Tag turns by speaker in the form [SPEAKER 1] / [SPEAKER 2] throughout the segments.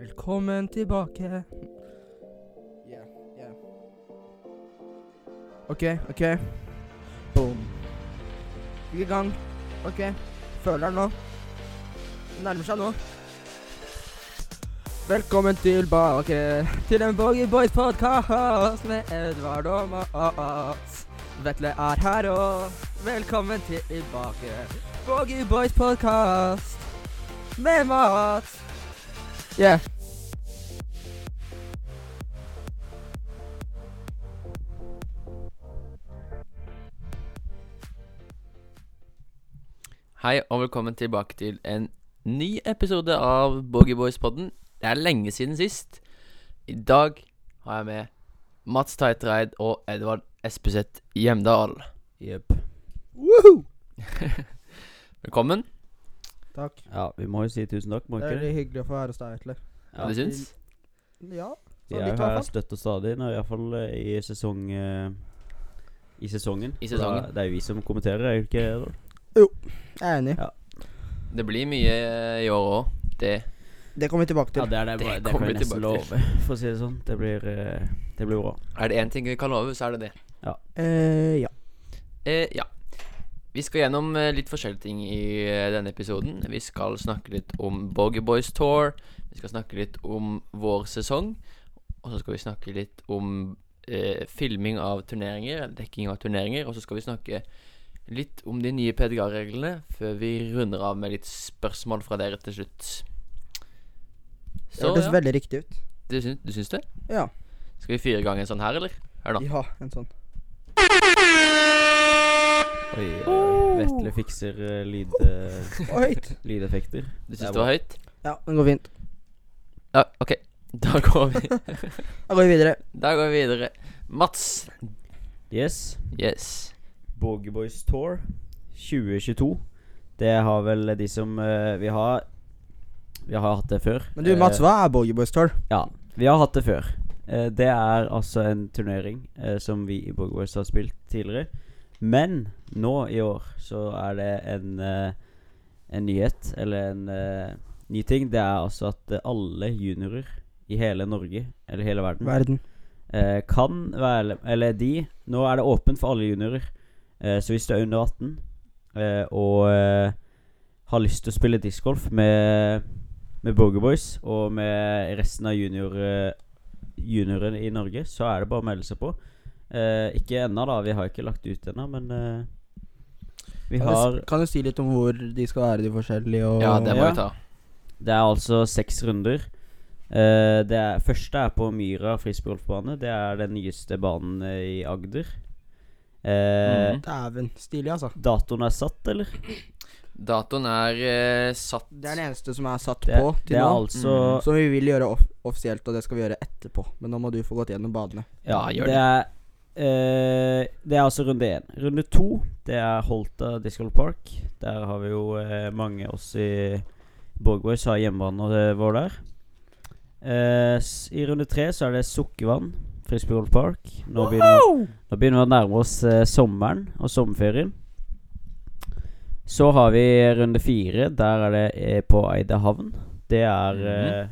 [SPEAKER 1] Velkommen tilbake.
[SPEAKER 2] Yeah, yeah.
[SPEAKER 1] OK, OK. Boom. Vi er i gang. OK. Føler den nå. Den Nærmer seg nå. Velkommen tilbake til en Boogie Boys podcast med Edvard og Mats. Vetle er her og velkommen tilbake. Boogie Boys podcast med Mats. Yeah.
[SPEAKER 3] Hei og velkommen tilbake til en ny episode av Boogie Boys-podden. Det er lenge siden sist. I dag har jeg med Mats Teitreid og Edvard Espeseth Hjemdal.
[SPEAKER 4] Jepp.
[SPEAKER 1] Woohoo!
[SPEAKER 3] Velkommen.
[SPEAKER 1] Takk.
[SPEAKER 4] Ja, vi må jo si tusen takk, må
[SPEAKER 1] Det er
[SPEAKER 4] vi ikke det?
[SPEAKER 1] veldig hyggelig å få være hos deg, Vetle.
[SPEAKER 3] Hva du syns
[SPEAKER 1] Ja.
[SPEAKER 4] Vi er jo her støtt og stadig, nå, i hvert fall eh, i sesong eh, I sesongen.
[SPEAKER 3] I sesongen.
[SPEAKER 4] Da, det er jo vi som kommenterer, er det ikke det? da?
[SPEAKER 1] Jeg er enig.
[SPEAKER 3] Det blir mye i år òg. Det
[SPEAKER 1] Det kommer vi tilbake til.
[SPEAKER 4] Ja, det er det,
[SPEAKER 3] Det
[SPEAKER 4] bare- det,
[SPEAKER 3] kommer
[SPEAKER 4] kan
[SPEAKER 3] vi
[SPEAKER 4] jeg
[SPEAKER 3] tilbake
[SPEAKER 4] nesten love, for å si det sånn. Det blir, eh, det blir bra.
[SPEAKER 3] er det én ting vi kan love, så er det det.
[SPEAKER 1] Eh, ja.
[SPEAKER 3] Eh, ja. Vi skal gjennom eh, litt forskjellige ting i eh, denne episoden. Vi skal snakke litt om Boggy Boys Tour. Vi skal snakke litt om vår sesong. Og så skal vi snakke litt om eh, filming av turneringer, eller dekking av turneringer. Og så skal vi snakke litt om de nye PDGA-reglene før vi runder av med litt spørsmål fra dere til slutt.
[SPEAKER 1] Det
[SPEAKER 3] Så,
[SPEAKER 1] hørtes
[SPEAKER 3] ja.
[SPEAKER 1] veldig riktig ut.
[SPEAKER 3] Du syns, du syns det?
[SPEAKER 1] Ja.
[SPEAKER 3] Skal vi fyre i gang en sånn her, eller? Hør nå.
[SPEAKER 1] Ja, en sånn.
[SPEAKER 4] Oi, oi, oi. Vetle fikser eh, lyd, eh,
[SPEAKER 1] Og høyt.
[SPEAKER 4] lydeffekter.
[SPEAKER 3] Du
[SPEAKER 4] er
[SPEAKER 3] syns det
[SPEAKER 4] bra.
[SPEAKER 3] var høyt?
[SPEAKER 1] Ja, den går fint.
[SPEAKER 3] Ja, OK. Da går vi.
[SPEAKER 1] Da går vi videre.
[SPEAKER 3] Da går vi videre. Mats.
[SPEAKER 4] Yes.
[SPEAKER 3] Yes.
[SPEAKER 4] Boogie Boys Tour 2022. Det har vel de som eh, Vi har Vi har hatt det før.
[SPEAKER 1] Men du, Mats,
[SPEAKER 4] Eh,
[SPEAKER 1] hva er Boogie Boys Tour?
[SPEAKER 4] Ja, vi har hatt det før. Eh, det er altså en turnering eh, som vi i Bogwars har spilt tidligere. Men nå i år så er det en, eh, en nyhet, eller en eh, ny ting. Det er altså at eh, alle juniorer i hele Norge, eller hele verden,
[SPEAKER 1] Verden.
[SPEAKER 4] eh, kan være Eller de Nå er det åpent for alle juniorer. Eh, så hvis du er under 18 eh, og eh, har lyst til å spille discgolf med, med Boger Boys og med resten av junior, eh, juniorene i Norge, så er det bare å melde seg på. Eh, ikke ennå, da. Vi har ikke lagt ut ennå, men eh, vi
[SPEAKER 1] Kan du s-
[SPEAKER 4] har
[SPEAKER 1] Kan du si litt om hvor de skal være, de forskjellige, og
[SPEAKER 3] Ja, det må
[SPEAKER 4] ja.
[SPEAKER 3] vi ta.
[SPEAKER 4] Det er altså seks runder. Eh, det er, første er på Myra frisbeegolfbane. Det er den nyeste banen eh, i Agder. Eh,
[SPEAKER 3] Mhm.
[SPEAKER 1] Dæven. Stilig, altså.
[SPEAKER 4] Datoen er satt, eller?
[SPEAKER 3] Datoen er eh, satt
[SPEAKER 1] Det er den eneste som er satt
[SPEAKER 4] Det,
[SPEAKER 1] på til
[SPEAKER 4] det er
[SPEAKER 1] nå. Mhm.
[SPEAKER 4] altså
[SPEAKER 1] Som vi vil gjøre off offisielt, og det skal vi gjøre etterpå. Men nå må du få gått gjennom badene.
[SPEAKER 4] Ja,
[SPEAKER 3] Ja, gjør
[SPEAKER 4] det er eh, Det er altså runde én. Runde to, det er Holta Discol Park. Der har vi jo eh, mange oss i Borgboys har hjemmebane eh, vår der. Eh, s- I runde tre så er det Sukkervann frisbeegolf park. Nå begynner Nå begynner vi å nærme oss eh, sommeren og sommerferien. Så har vi runde fire. Der er det eh, på Eidehavn. Det er eh,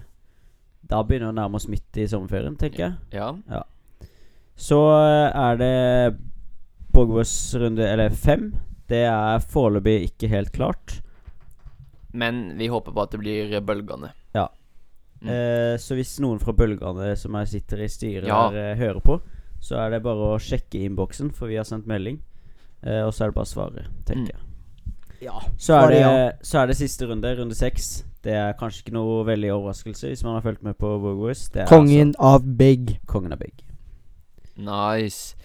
[SPEAKER 4] Da begynner vi å nærme oss midt i sommerferien, tenker jeg.
[SPEAKER 3] Ja.
[SPEAKER 4] Så eh, er det Borgås runde eller fem. Det er foreløpig ikke helt klart.
[SPEAKER 3] Men vi håper på at det blir eh, bølgende. Mm.
[SPEAKER 4] Eh, så hvis noen fra Bølgane som er sitter i styret
[SPEAKER 3] Ja.
[SPEAKER 4] her, eh, hører på, så er det bare å sjekke innboksen, for vi har sendt melding. Eh, og så er det bare å svare,
[SPEAKER 3] Mm.
[SPEAKER 4] tenker jeg.
[SPEAKER 1] Ja.
[SPEAKER 4] Så er,
[SPEAKER 1] Svaret
[SPEAKER 4] det,
[SPEAKER 1] ja.
[SPEAKER 4] så er det siste runde, runde seks. Det er kanskje ikke noe veldig overraskelse hvis man har fulgt med på Bogois. Det er
[SPEAKER 1] Kongen av Big.
[SPEAKER 4] Altså kongen av Big.
[SPEAKER 3] Nice.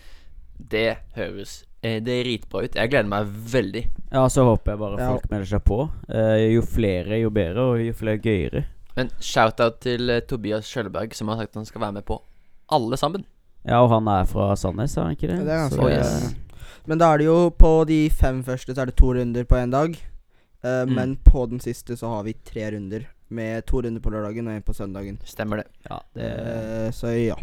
[SPEAKER 3] Det høres eh, dritbra ut. Jeg gleder meg veldig.
[SPEAKER 4] Ja, så håper jeg bare
[SPEAKER 1] Ja.
[SPEAKER 4] folk melder seg på. Eh, jo flere, jo bedre, og jo flere gøyere.
[SPEAKER 3] Men shout-out til eh, Tobias Sjølberg, som har sagt han skal være med på alle sammen.
[SPEAKER 4] Ja, og han er fra Sandnes, er han ikke det?
[SPEAKER 1] Ja, det er ganske
[SPEAKER 4] så,
[SPEAKER 3] bra.
[SPEAKER 4] eh,
[SPEAKER 3] Yes.
[SPEAKER 1] Men da er det jo på de fem første så er det to runder på én dag. Eh,
[SPEAKER 3] Mm.
[SPEAKER 1] Men på den siste så har vi tre runder. Med to runder på lørdagen og én på søndagen.
[SPEAKER 3] Stemmer det.
[SPEAKER 4] ja, det
[SPEAKER 1] Eh, så ja.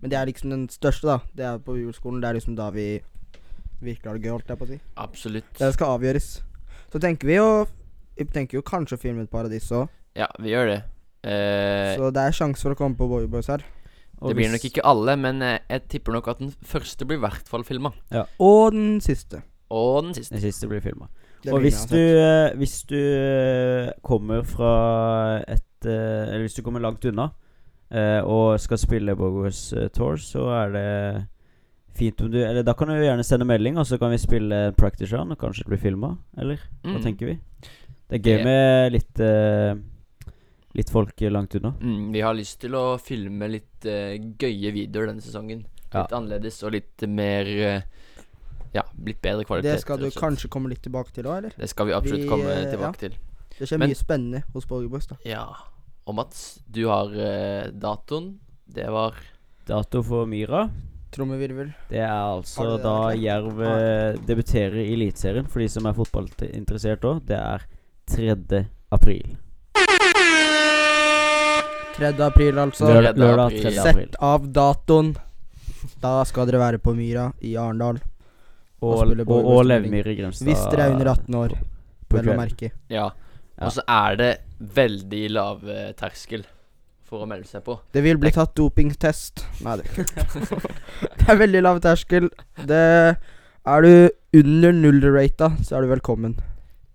[SPEAKER 1] Men det er liksom den største, da. Det er på juleskolen. Det er liksom da vi virkelig har det gøy, holdt jeg på å si.
[SPEAKER 3] Absolutt.
[SPEAKER 1] Det skal avgjøres. Så tenker vi jo Vi tenker jo kanskje å filme et paradis òg.
[SPEAKER 3] Ja, vi gjør det. Eh,
[SPEAKER 1] Så det er sjanse for å komme på Boy Boys her.
[SPEAKER 4] Og
[SPEAKER 3] det blir
[SPEAKER 4] hvis-
[SPEAKER 3] nok ikke alle, men eh, jeg tipper nok at den første blir i hvert fall filma.
[SPEAKER 1] Og den siste.
[SPEAKER 3] Og den siste.
[SPEAKER 4] Den siste blir filma.
[SPEAKER 1] Det
[SPEAKER 4] Og
[SPEAKER 1] blir
[SPEAKER 4] hvis du,
[SPEAKER 1] uansett.
[SPEAKER 4] eh, hvis du eh, kommer fra et eh, Eller hvis du kommer langt unna eh, og skal spille Bogos eh, Tour, så er det fint om du Eller da kan du gjerne sende melding, og så kan vi spille en practice round og kanskje bli filma, eller? Hva
[SPEAKER 3] Mm.
[SPEAKER 4] tenker vi? Det er
[SPEAKER 3] Det-
[SPEAKER 4] gøy med litt eh, Litt folk eh, langt unna.
[SPEAKER 3] Mm, vi har lyst til å filme litt eh, gøye videoer denne sesongen.
[SPEAKER 4] Ja.
[SPEAKER 3] Litt annerledes og litt mer eh, Ja, litt bedre kvalitet.
[SPEAKER 1] Det skal du
[SPEAKER 3] rett og slett.
[SPEAKER 1] kanskje komme litt tilbake til òg, eller?
[SPEAKER 3] Det skal vi absolutt
[SPEAKER 1] Vi,
[SPEAKER 3] komme
[SPEAKER 1] eh, ja.
[SPEAKER 3] tilbake til.
[SPEAKER 1] Det skjer
[SPEAKER 3] Men-
[SPEAKER 1] mye spennende hos Boy Boys, da.
[SPEAKER 3] Ja. Og Mats, du har eh, datoen. Det var
[SPEAKER 4] Dato for Myra.
[SPEAKER 1] Trommevirvel.
[SPEAKER 4] Det er altså
[SPEAKER 1] Har du det
[SPEAKER 4] da
[SPEAKER 1] klart?
[SPEAKER 4] Jerv eh, debuterer i Eliteserien, for de som er fotballinteressert òg. Det er 3. april.
[SPEAKER 1] 3. april, altså.
[SPEAKER 3] Lørdag.
[SPEAKER 4] tredje
[SPEAKER 3] april.
[SPEAKER 1] Sett av datoen. Da skal dere være på Myra i Arendal.
[SPEAKER 4] Og,
[SPEAKER 1] spille
[SPEAKER 4] og, og,
[SPEAKER 1] Borgerspilling.
[SPEAKER 4] Levmyr i Grimstad.
[SPEAKER 1] Hvis dere er under 18 år,
[SPEAKER 4] på
[SPEAKER 1] vel å
[SPEAKER 4] kvelden.
[SPEAKER 1] merke.
[SPEAKER 3] Ja.
[SPEAKER 4] Ja.
[SPEAKER 3] Og så er det veldig lav eh, terskel for å melde seg på.
[SPEAKER 1] Det vil bli tatt dopingtest. Nei, det Det er veldig lav terskel. Det Er du under null-rata, så er du velkommen.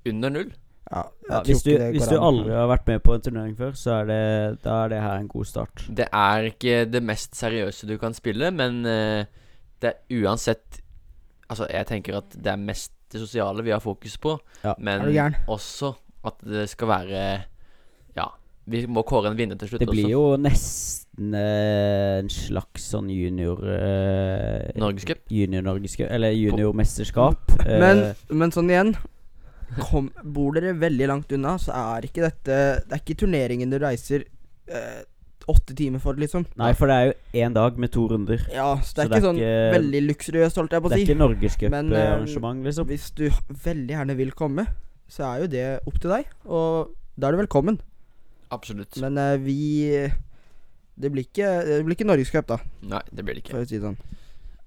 [SPEAKER 3] Under null.
[SPEAKER 1] Ja, jeg
[SPEAKER 4] Ja,
[SPEAKER 1] tror
[SPEAKER 4] hvis du,
[SPEAKER 1] ikke det
[SPEAKER 4] hvis
[SPEAKER 1] går
[SPEAKER 4] du
[SPEAKER 1] an.
[SPEAKER 4] aldri har vært med på en turnering før, så er det, da er det her en god start.
[SPEAKER 3] Det er ikke det mest seriøse du kan spille, men eh, det er uansett Altså, jeg tenker at det er mest det sosiale vi har fokus på,
[SPEAKER 4] Ja.
[SPEAKER 3] men
[SPEAKER 1] Er du gæren?
[SPEAKER 3] også at det skal være Ja, vi må kåre en vinner til slutt
[SPEAKER 4] Det blir
[SPEAKER 3] også.
[SPEAKER 4] jo nesten eh, en slags sånn junior eh,
[SPEAKER 3] Norgescup.
[SPEAKER 4] Junior-norgescup, eller juniormesterskap. eh,
[SPEAKER 1] Men, men sånn igjen kom, Bor dere veldig langt unna, så er ikke dette Det er ikke turneringen du reiser eh, åtte timer for, liksom.
[SPEAKER 4] Nei, for det er jo én dag med to runder.
[SPEAKER 1] Ja, så det
[SPEAKER 4] så
[SPEAKER 1] er ikke sånn veldig luksuriøst, holdt jeg på
[SPEAKER 4] Det
[SPEAKER 1] å
[SPEAKER 4] er
[SPEAKER 1] si.
[SPEAKER 4] ikke
[SPEAKER 1] Men, eh,
[SPEAKER 4] norgescuparrangement, liksom.
[SPEAKER 1] Hvis du veldig gjerne vil komme, så er jo det opp til deg. Og da er du velkommen.
[SPEAKER 3] Absolutt.
[SPEAKER 1] Men eh, vi Det blir ikke, det blir ikke Norgescup, da,
[SPEAKER 3] Nei, det blir det ikke.
[SPEAKER 1] for å si det sånn.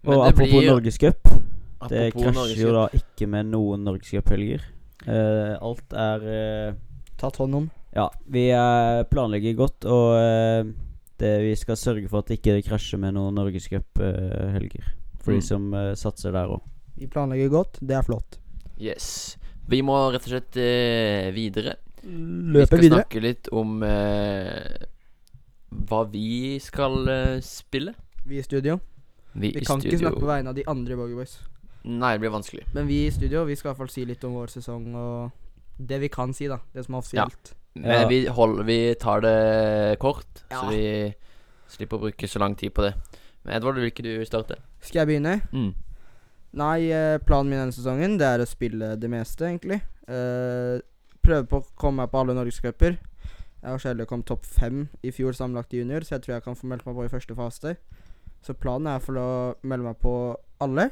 [SPEAKER 3] Men
[SPEAKER 4] Og
[SPEAKER 3] det
[SPEAKER 4] apropos
[SPEAKER 3] blir-
[SPEAKER 4] norgescup, det
[SPEAKER 3] apropos
[SPEAKER 4] krasjer
[SPEAKER 3] Norgescup.
[SPEAKER 4] jo da ikke med noen norgescuphelger. Uh, alt er eh,
[SPEAKER 1] Tatt hånd om.
[SPEAKER 4] Ja, vi eh, planlegger godt, og eh, det, vi skal sørge for at det ikke krasjer med noen norgescuphelger. For
[SPEAKER 3] Mm.
[SPEAKER 4] de som eh, satser der òg.
[SPEAKER 1] Vi planlegger godt, det er flott.
[SPEAKER 3] Yes. Vi må rett og slett eh, videre. Vi
[SPEAKER 1] Løpe
[SPEAKER 3] skal
[SPEAKER 1] videre.
[SPEAKER 3] snakke litt om eh, hva vi skal eh, spille.
[SPEAKER 1] Vi i studio.
[SPEAKER 3] Vi,
[SPEAKER 1] Vi
[SPEAKER 3] i
[SPEAKER 1] kan
[SPEAKER 3] studio.
[SPEAKER 1] ikke snakke på vegne av de andre Boggy Boys.
[SPEAKER 3] Nei, det blir vanskelig.
[SPEAKER 1] Men vi i studio vi skal i hvert fall si litt om vår sesong og det vi kan si, da. Det som er offisielt.
[SPEAKER 3] Men
[SPEAKER 4] Ja.
[SPEAKER 3] vi, holder, vi tar det kort, så
[SPEAKER 1] Ja.
[SPEAKER 3] vi slipper å bruke så lang tid på det. Men Edvard, vil ikke du starte?
[SPEAKER 1] Skal jeg begynne?
[SPEAKER 3] Mm.
[SPEAKER 1] Nei, eh, planen min denne sesongen Det er å spille det meste, egentlig. Eh, prøve på å komme meg på alle norgescuper. Jeg har så heldig å komme topp fem i fjor sammenlagt i junior, så jeg tror jeg kan få meldt meg på i første fase. Så planen er for å melde meg på alle.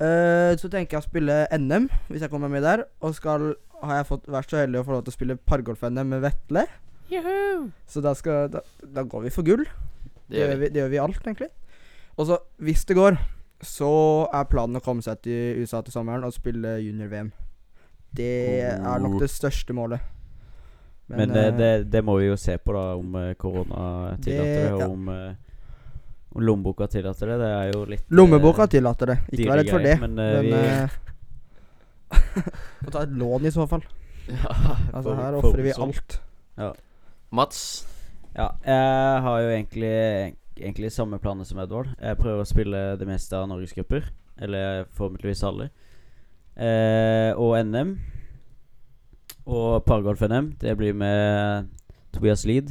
[SPEAKER 1] Eh, så tenker jeg å spille NM, hvis jeg kommer med der. Og skal, har jeg fått, vært så heldig å få lov til å spille pargolf-NM med Vetle. Så da, skal, da, da går vi for gull. Det gjør vi, det gjør vi i alt, egentlig. Og så, hvis det går, så er planen å komme seg til USA til sommeren og spille junior-VM. Det er nok det største målet.
[SPEAKER 4] Men, eh, det, det må vi jo se på, da, om eh, korona tillater det,
[SPEAKER 1] Det-
[SPEAKER 4] og
[SPEAKER 1] ja.
[SPEAKER 4] om, eh, om lommeboka tillater det. Det er jo litt eh,
[SPEAKER 1] Lommeboka tillater det. Ikke
[SPEAKER 4] dyre
[SPEAKER 1] vær redd for det.
[SPEAKER 4] greier, Men, eh,
[SPEAKER 1] Men
[SPEAKER 4] vi,
[SPEAKER 1] eh, Må ta et lån, i så fall. Altså,
[SPEAKER 4] for-
[SPEAKER 1] her
[SPEAKER 4] for-
[SPEAKER 1] ofrer vi
[SPEAKER 4] sånn.
[SPEAKER 1] alt.
[SPEAKER 3] Mats?
[SPEAKER 4] Ja, jeg har jo egentlig, egentlig samme planer som Edvard. Jeg prøver å spille det meste av norgescuper. Eller forhåpentligvis alle. Eh, og NM. Og pargolf-NM. Det blir med Tobias Lid.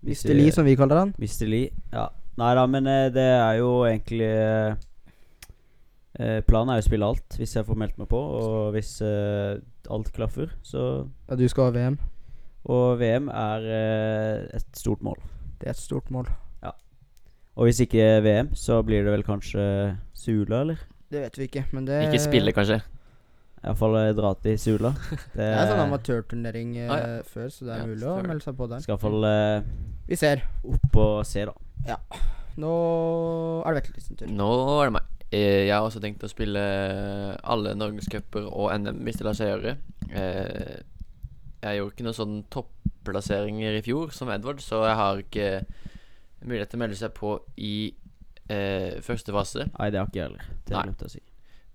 [SPEAKER 4] Hvis
[SPEAKER 1] Mr.
[SPEAKER 4] vi-
[SPEAKER 1] Lee, som vi kaller han.
[SPEAKER 4] Mr. Lee. Ja. Nei da, men eh, det er jo egentlig eh, eh, Planen er jo å spille alt, hvis jeg får meldt meg på. Og hvis eh, alt klaffer, så
[SPEAKER 1] Ja, du skal ha VM.
[SPEAKER 4] Og VM er eh, et stort mål.
[SPEAKER 1] Det er et stort mål.
[SPEAKER 4] Og hvis ikke VM, så blir det vel kanskje Sula, eller?
[SPEAKER 1] Det vet vi ikke, men det
[SPEAKER 3] Ikke spille, kanskje?
[SPEAKER 4] Iallfall eh, dra til Sula. Det
[SPEAKER 1] Det er sånn amatørturnering eh,
[SPEAKER 3] Ah, ja.
[SPEAKER 1] før, så det er
[SPEAKER 3] Ja,
[SPEAKER 1] mulig å
[SPEAKER 3] stemmer.
[SPEAKER 1] melde seg på der.
[SPEAKER 4] skal iallfall eh,
[SPEAKER 1] Vi ser.
[SPEAKER 4] opp og se, da.
[SPEAKER 1] Nå er det Vetle sin tur.
[SPEAKER 3] Nå er det meg. Eh, Jeg har også tenkt å spille alle norgescuper og NM, hvis det lar seg gjøre. Eh, Jeg gjorde ikke noen sånn topplasseringer i fjor som Edvard, så jeg har ikke mulighet til å melde seg på i eh, første fase.
[SPEAKER 4] Nei, det har ikke jeg heller. Det
[SPEAKER 3] Nei.
[SPEAKER 4] glemte jeg å si.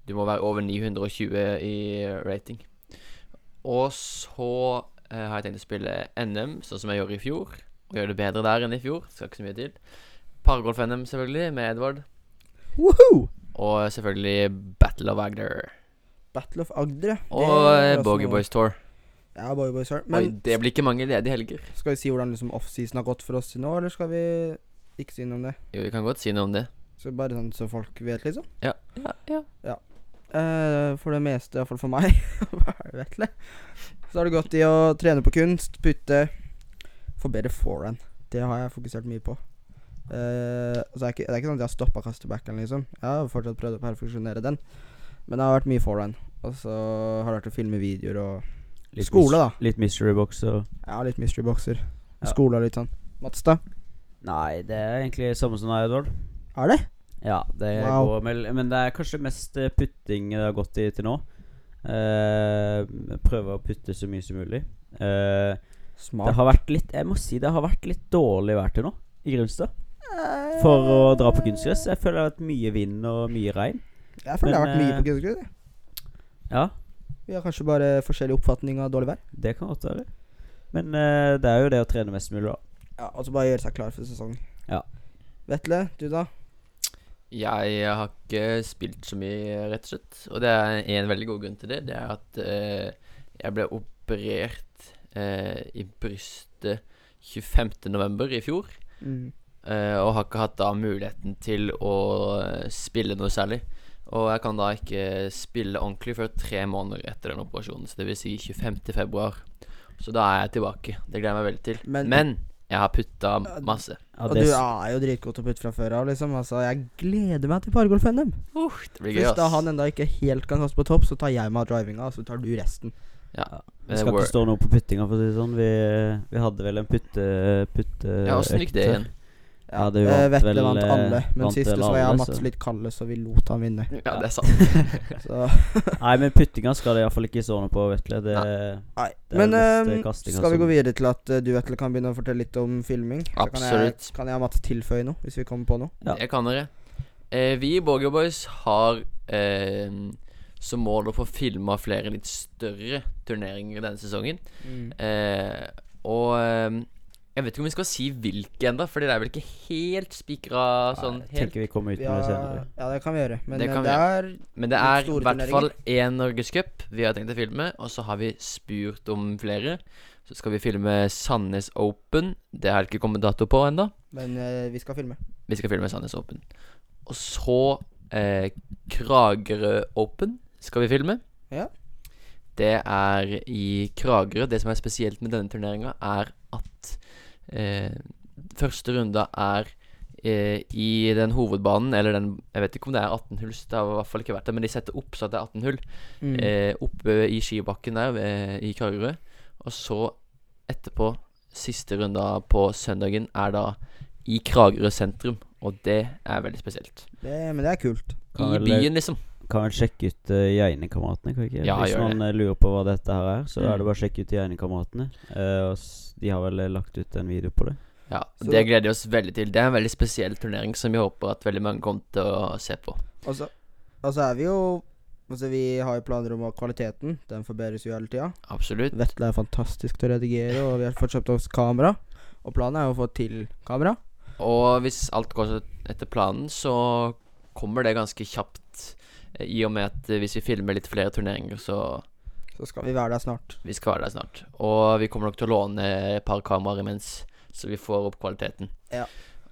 [SPEAKER 3] Du må være over 920 i rating. Og så eh, har jeg tenkt å spille NM, sånn som jeg gjorde i fjor. Og gjøre det bedre der enn i fjor. Skal ikke så mye til. Paragolf-NM, selvfølgelig, med Edvard.
[SPEAKER 1] Woohoo!
[SPEAKER 3] Og selvfølgelig Battle of Agder.
[SPEAKER 1] Battle of Agder, ja.
[SPEAKER 3] Og
[SPEAKER 1] Det er
[SPEAKER 3] eh,
[SPEAKER 1] også
[SPEAKER 3] Bogey
[SPEAKER 1] noe-
[SPEAKER 3] Boys Tour.
[SPEAKER 1] Ja, Bogey Boys Tour.
[SPEAKER 3] Oi,
[SPEAKER 1] Men
[SPEAKER 3] det blir ikke mange ledige helger.
[SPEAKER 1] skal vi si hvordan liksom offseason har gått for oss til nå, eller skal vi ikke si noe om det?
[SPEAKER 3] Jo, vi kan godt si noe om det.
[SPEAKER 1] Så bare sånn så folk vet, liksom.
[SPEAKER 3] Ja. ja, ja.
[SPEAKER 1] Eh, for det meste, iallfall for meg, hva er det, vet du? så har det gått i å trene på kunst, putte, få bedre forehand. Det har jeg fokusert mye på. Eh, så er det, ikke, det er ikke sånn at jeg har stoppa kastebacken, liksom. Jeg har fortsatt prøvd å perfeksjonere den. Men det har vært mye forehand. Og så har det vært å filme videoer og Skole,
[SPEAKER 4] mis-
[SPEAKER 1] da.
[SPEAKER 4] Litt mystery box og
[SPEAKER 1] Ja, litt mystery boxer.
[SPEAKER 4] Ja.
[SPEAKER 1] Skole og litt sånn. Mats, da?
[SPEAKER 4] Nei, det er egentlig samme som deg, Edvard.
[SPEAKER 1] Er det?
[SPEAKER 4] Ja, det
[SPEAKER 1] Wow.
[SPEAKER 4] går vel Men det er kanskje mest eh, putting det har gått i til nå. Eh, prøve å putte så mye som mulig. Eh, det
[SPEAKER 1] Smart.
[SPEAKER 4] har vært litt Jeg må si det har vært litt dårlig vær til nå i Grimstad. For å dra på kunstgress. Jeg føler det har vært mye vind og mye regn.
[SPEAKER 1] Jeg føler det har vært
[SPEAKER 4] Men, eh,
[SPEAKER 1] mye på kunstgress. jeg.
[SPEAKER 4] Ja,
[SPEAKER 1] Vi har kanskje bare forskjellig oppfatning av dårlig vær.
[SPEAKER 4] det kan godt være. Men eh, det er jo det å trene mest mulig, da.
[SPEAKER 1] Ja, Og så bare gjøre seg klar for sesongen.
[SPEAKER 4] Ja.
[SPEAKER 1] Vetle, du da?
[SPEAKER 3] Jeg har ikke spilt så mye, rett og slett. Og det er en veldig god grunn til det. Det er at eh, jeg ble operert eh, i brystet 25.11. i fjor.
[SPEAKER 1] Mm.
[SPEAKER 3] eh, og har ikke hatt da muligheten til å eh, spille noe særlig. Og jeg kan da ikke spille ordentlig før tre måneder etter den operasjonen. Så det vil si 25.2. Så da er jeg tilbake. Det gleder jeg meg veldig til.
[SPEAKER 1] Men-
[SPEAKER 3] Men, jeg har putta masse.
[SPEAKER 4] Ja,
[SPEAKER 1] og
[SPEAKER 4] det,
[SPEAKER 1] du
[SPEAKER 4] s-
[SPEAKER 1] er jo dritgod til å putte fra før av, liksom. Altså, jeg gleder meg til Pargolf NM.
[SPEAKER 3] Uh, det blir gøy,
[SPEAKER 1] Hvis da
[SPEAKER 3] ass.
[SPEAKER 1] han enda ikke helt kan kaste på topp, så tar jeg meg av drivinga, og så tar du resten.
[SPEAKER 4] det
[SPEAKER 3] Men
[SPEAKER 4] skal
[SPEAKER 3] wor-
[SPEAKER 4] ikke stå noe på puttinga, for å si det sånn. Vi, vi hadde vel en putte... putte
[SPEAKER 3] Ja, åssen gikk det
[SPEAKER 4] økt her.
[SPEAKER 3] igjen?
[SPEAKER 4] Ja, det vant
[SPEAKER 1] Eh, Vetle
[SPEAKER 4] vel,
[SPEAKER 1] vant
[SPEAKER 4] eh,
[SPEAKER 1] alle, men
[SPEAKER 4] vant
[SPEAKER 1] sist
[SPEAKER 4] vel
[SPEAKER 1] så var jeg
[SPEAKER 4] alle,
[SPEAKER 1] og Mats
[SPEAKER 4] så-
[SPEAKER 1] litt kalde, så vi lot han vinne.
[SPEAKER 3] Ja, det er sant.
[SPEAKER 1] Så
[SPEAKER 4] Nei, men puttinga skal det iallfall ikke stå noe på, Vetle. Det,
[SPEAKER 3] Altså,
[SPEAKER 1] Nei.
[SPEAKER 4] Det er
[SPEAKER 1] Men
[SPEAKER 4] vel best,
[SPEAKER 1] ehm,
[SPEAKER 4] eh, kasting,
[SPEAKER 1] skal vi
[SPEAKER 4] altså.
[SPEAKER 1] gå videre til at eh, du, Vetle, kan begynne å fortelle litt om filming? Så kan jeg,
[SPEAKER 3] Absolutt.
[SPEAKER 1] kan jeg og Mats tilføye noe, hvis vi kommer på noe?
[SPEAKER 4] Ja.
[SPEAKER 3] Det kan dere. Eh, vi i Borger Boys har eh, som mål å få filma flere litt større turneringer denne sesongen.
[SPEAKER 4] Mm.
[SPEAKER 3] Eh, og eh, jeg vet ikke om vi skal si hvilke enda, Fordi det er vel ikke helt spikra sånn
[SPEAKER 4] jeg
[SPEAKER 3] helt.
[SPEAKER 4] tenker vi kommer ut med
[SPEAKER 1] Ja,
[SPEAKER 4] det senere.
[SPEAKER 1] ja, det kan vi gjøre. Men
[SPEAKER 3] Det
[SPEAKER 1] eh,
[SPEAKER 3] kan vi
[SPEAKER 1] det er
[SPEAKER 3] Men det
[SPEAKER 1] litt
[SPEAKER 3] er i
[SPEAKER 1] store
[SPEAKER 3] hvert fall én norgescup vi har tenkt å filme, og så har vi spurt om flere. Så skal vi filme Sandnes Open. Det har det ikke kommet dato på ennå.
[SPEAKER 1] Men eh, vi skal filme.
[SPEAKER 3] Vi skal filme Sandnes Open. Og så eh, Kragerø Open skal vi filme.
[SPEAKER 1] Ja.
[SPEAKER 3] Det er i Kragerø. Det som er spesielt med denne turneringa, er at eh, første runda er eh, i den hovedbanen, eller den Jeg vet ikke om det er 18 hulls, det har i hvert fall ikke vært det, men de setter opp så at det er 18 hull
[SPEAKER 1] Mm.
[SPEAKER 4] Mm.
[SPEAKER 3] eh, oppe i skibakken der ved, i Kragerø. Og så etterpå, siste runde på søndagen, er da i Kragerø sentrum. Og det er veldig spesielt.
[SPEAKER 1] Det, men det er kult.
[SPEAKER 4] Kan
[SPEAKER 3] I
[SPEAKER 4] vel-
[SPEAKER 3] byen, liksom.
[SPEAKER 4] Kan vel sjekke ut uh, Geine-kameratene, kan vi ikke?
[SPEAKER 3] Ja,
[SPEAKER 4] Hvis
[SPEAKER 3] gjør
[SPEAKER 4] man eh, lurer på hva dette her er, så
[SPEAKER 3] Mm.
[SPEAKER 4] er det bare å sjekke ut Geine-kameratene. Eh, og s- de har vel eh, lagt ut en video på det.
[SPEAKER 3] Ja,
[SPEAKER 1] Så-
[SPEAKER 3] Det gleder vi oss veldig til. Det er en veldig spesiell turnering som vi håper at veldig mange kommer til å se på.
[SPEAKER 1] Og så og så er vi jo Altså Vi har jo planer om at kvaliteten Den forbedres jo hele tida.
[SPEAKER 3] Absolutt.
[SPEAKER 1] Vetle er fantastisk til å redigere, og vi har fått kjøpt oss kamera. Og planen er jo å få til kamera.
[SPEAKER 3] Og hvis alt går så- etter planen, så kommer det ganske kjapt. eh, I og med at eh, hvis vi filmer litt flere turneringer, så
[SPEAKER 1] Så skal vi være der snart.
[SPEAKER 3] Vi skal være der snart. Og vi kommer nok til å låne et par kameraer imens, så vi får opp kvaliteten.
[SPEAKER 1] Ja.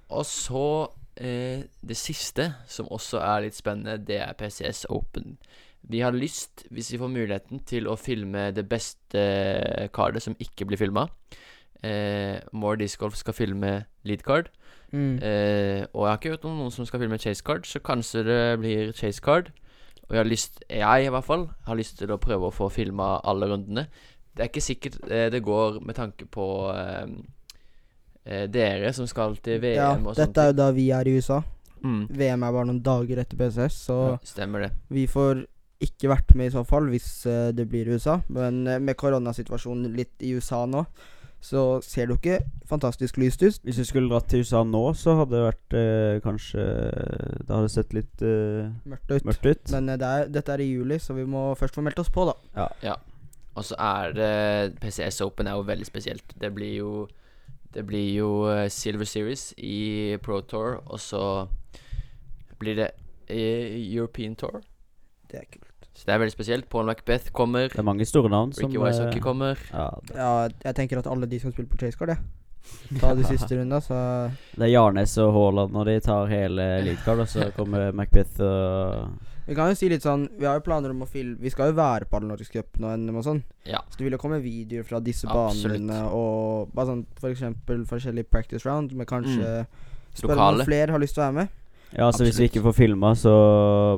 [SPEAKER 3] Og så eh, det siste, som også er litt spennende, det er PCS Open. Vi har lyst, hvis vi får muligheten, til å filme det beste kardet som ikke blir filma. Eh, More Disc Golf skal filme lead card.
[SPEAKER 4] Mm.
[SPEAKER 1] Mm.
[SPEAKER 3] Eh, og jeg har ikke hørt om noen som skal filme chase card, så kanskje det blir chase card. Og jeg har lyst, jeg i hvert fall, har lyst til å prøve å få filma alle rundene. Det er ikke sikkert eh, det går med tanke på eh, eh, dere som skal til VM
[SPEAKER 1] Ja,
[SPEAKER 3] og sånt.
[SPEAKER 1] dette er jo da vi er i USA.
[SPEAKER 3] Mm,
[SPEAKER 1] VM er bare noen dager etter PCS, så
[SPEAKER 3] stemmer det.
[SPEAKER 1] vi får ikke vært med i så fall, hvis eh, det blir i USA. Men eh, med koronasituasjonen litt i USA nå, så ser det jo ikke fantastisk lyst ut.
[SPEAKER 4] Hvis du skulle dratt til USA nå, så hadde det vært eh, kanskje Det hadde sett litt eh,
[SPEAKER 1] Mørkt ut.
[SPEAKER 4] mørkt ut.
[SPEAKER 1] Men eh, det er, dette er i juli, så vi må først få meldt oss på, da.
[SPEAKER 3] Og så er det PCS Open er jo veldig spesielt. Det blir jo Det blir jo eh, Silver Series i Pro Tour, og så blir det eh, European Tour.
[SPEAKER 1] Det er kult.
[SPEAKER 3] Så det er veldig spesielt. Paul Macbeth kommer.
[SPEAKER 4] det er mange store navn som
[SPEAKER 3] Ricky
[SPEAKER 4] eh,
[SPEAKER 3] Wisehockey kommer.
[SPEAKER 4] Ja,
[SPEAKER 1] Ja, jeg tenker at alle de som spiller på Chase Card, det. Ta de siste runda, så
[SPEAKER 4] det er Jarnes og Haaland, og de tar hele leadcard, og så kommer Macbeth og
[SPEAKER 1] Vi kan jo si litt sånn Vi har jo planer om å filme Vi skal jo være på all norsk cup nå NM og sånn.
[SPEAKER 3] Ja.
[SPEAKER 1] Så det vil jo komme videoer fra disse
[SPEAKER 3] Absolutt.
[SPEAKER 1] banene og bare sånn for eksempel forskjellige practice round med kanskje Spør om
[SPEAKER 3] Mm. Lokale.
[SPEAKER 1] noen flere har lyst til å være med.
[SPEAKER 4] Ja, altså hvis vi
[SPEAKER 3] Absolutt.
[SPEAKER 4] ikke får filma, så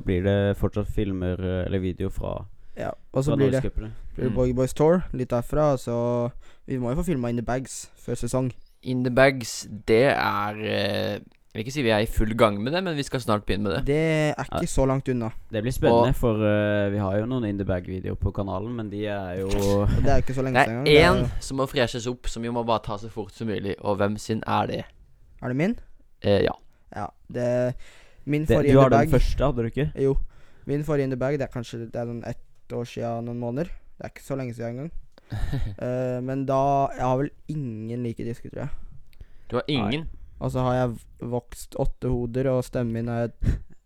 [SPEAKER 4] blir det fortsatt filmer eh, eller video fra,
[SPEAKER 1] Ja, og så
[SPEAKER 4] fra
[SPEAKER 1] blir det
[SPEAKER 4] norgescupene.
[SPEAKER 1] blir det
[SPEAKER 3] Mm.
[SPEAKER 1] Boy Boys Tour litt derfra, og så Vi må jo få filma In The Bags før sesong.
[SPEAKER 3] In the bags, det er eh, Jeg vil ikke si vi er i full gang med det, men vi skal snart begynne med det.
[SPEAKER 1] Det er ikke så langt unna.
[SPEAKER 4] Det blir spennende,
[SPEAKER 3] Og-
[SPEAKER 4] for eh, vi har jo noen In the Bag-videoer på kanalen, men de er jo
[SPEAKER 1] Og det er ikke så
[SPEAKER 3] Det
[SPEAKER 1] lenge
[SPEAKER 3] er
[SPEAKER 1] siden
[SPEAKER 3] én
[SPEAKER 1] engang. Det
[SPEAKER 3] som må freshes opp, som vi må bare ta så fort som mulig. Og hvem sin er det?
[SPEAKER 1] er- Er det min?
[SPEAKER 3] Eh, ja.
[SPEAKER 1] Ja. Det Min
[SPEAKER 4] det,
[SPEAKER 1] forrige
[SPEAKER 4] Du
[SPEAKER 1] In The
[SPEAKER 4] har den
[SPEAKER 1] Bag
[SPEAKER 4] første, hadde du ikke?
[SPEAKER 1] Jo. Min forrige in the bag, det er kanskje det er sånn ett år siden, noen måneder. Det er ikke så lenge siden engang. Eh, men da Jeg har vel ingen like disker, tror jeg.
[SPEAKER 3] Du har ingen.
[SPEAKER 1] Og så har jeg v- vokst åtte hoder, og stemmen min er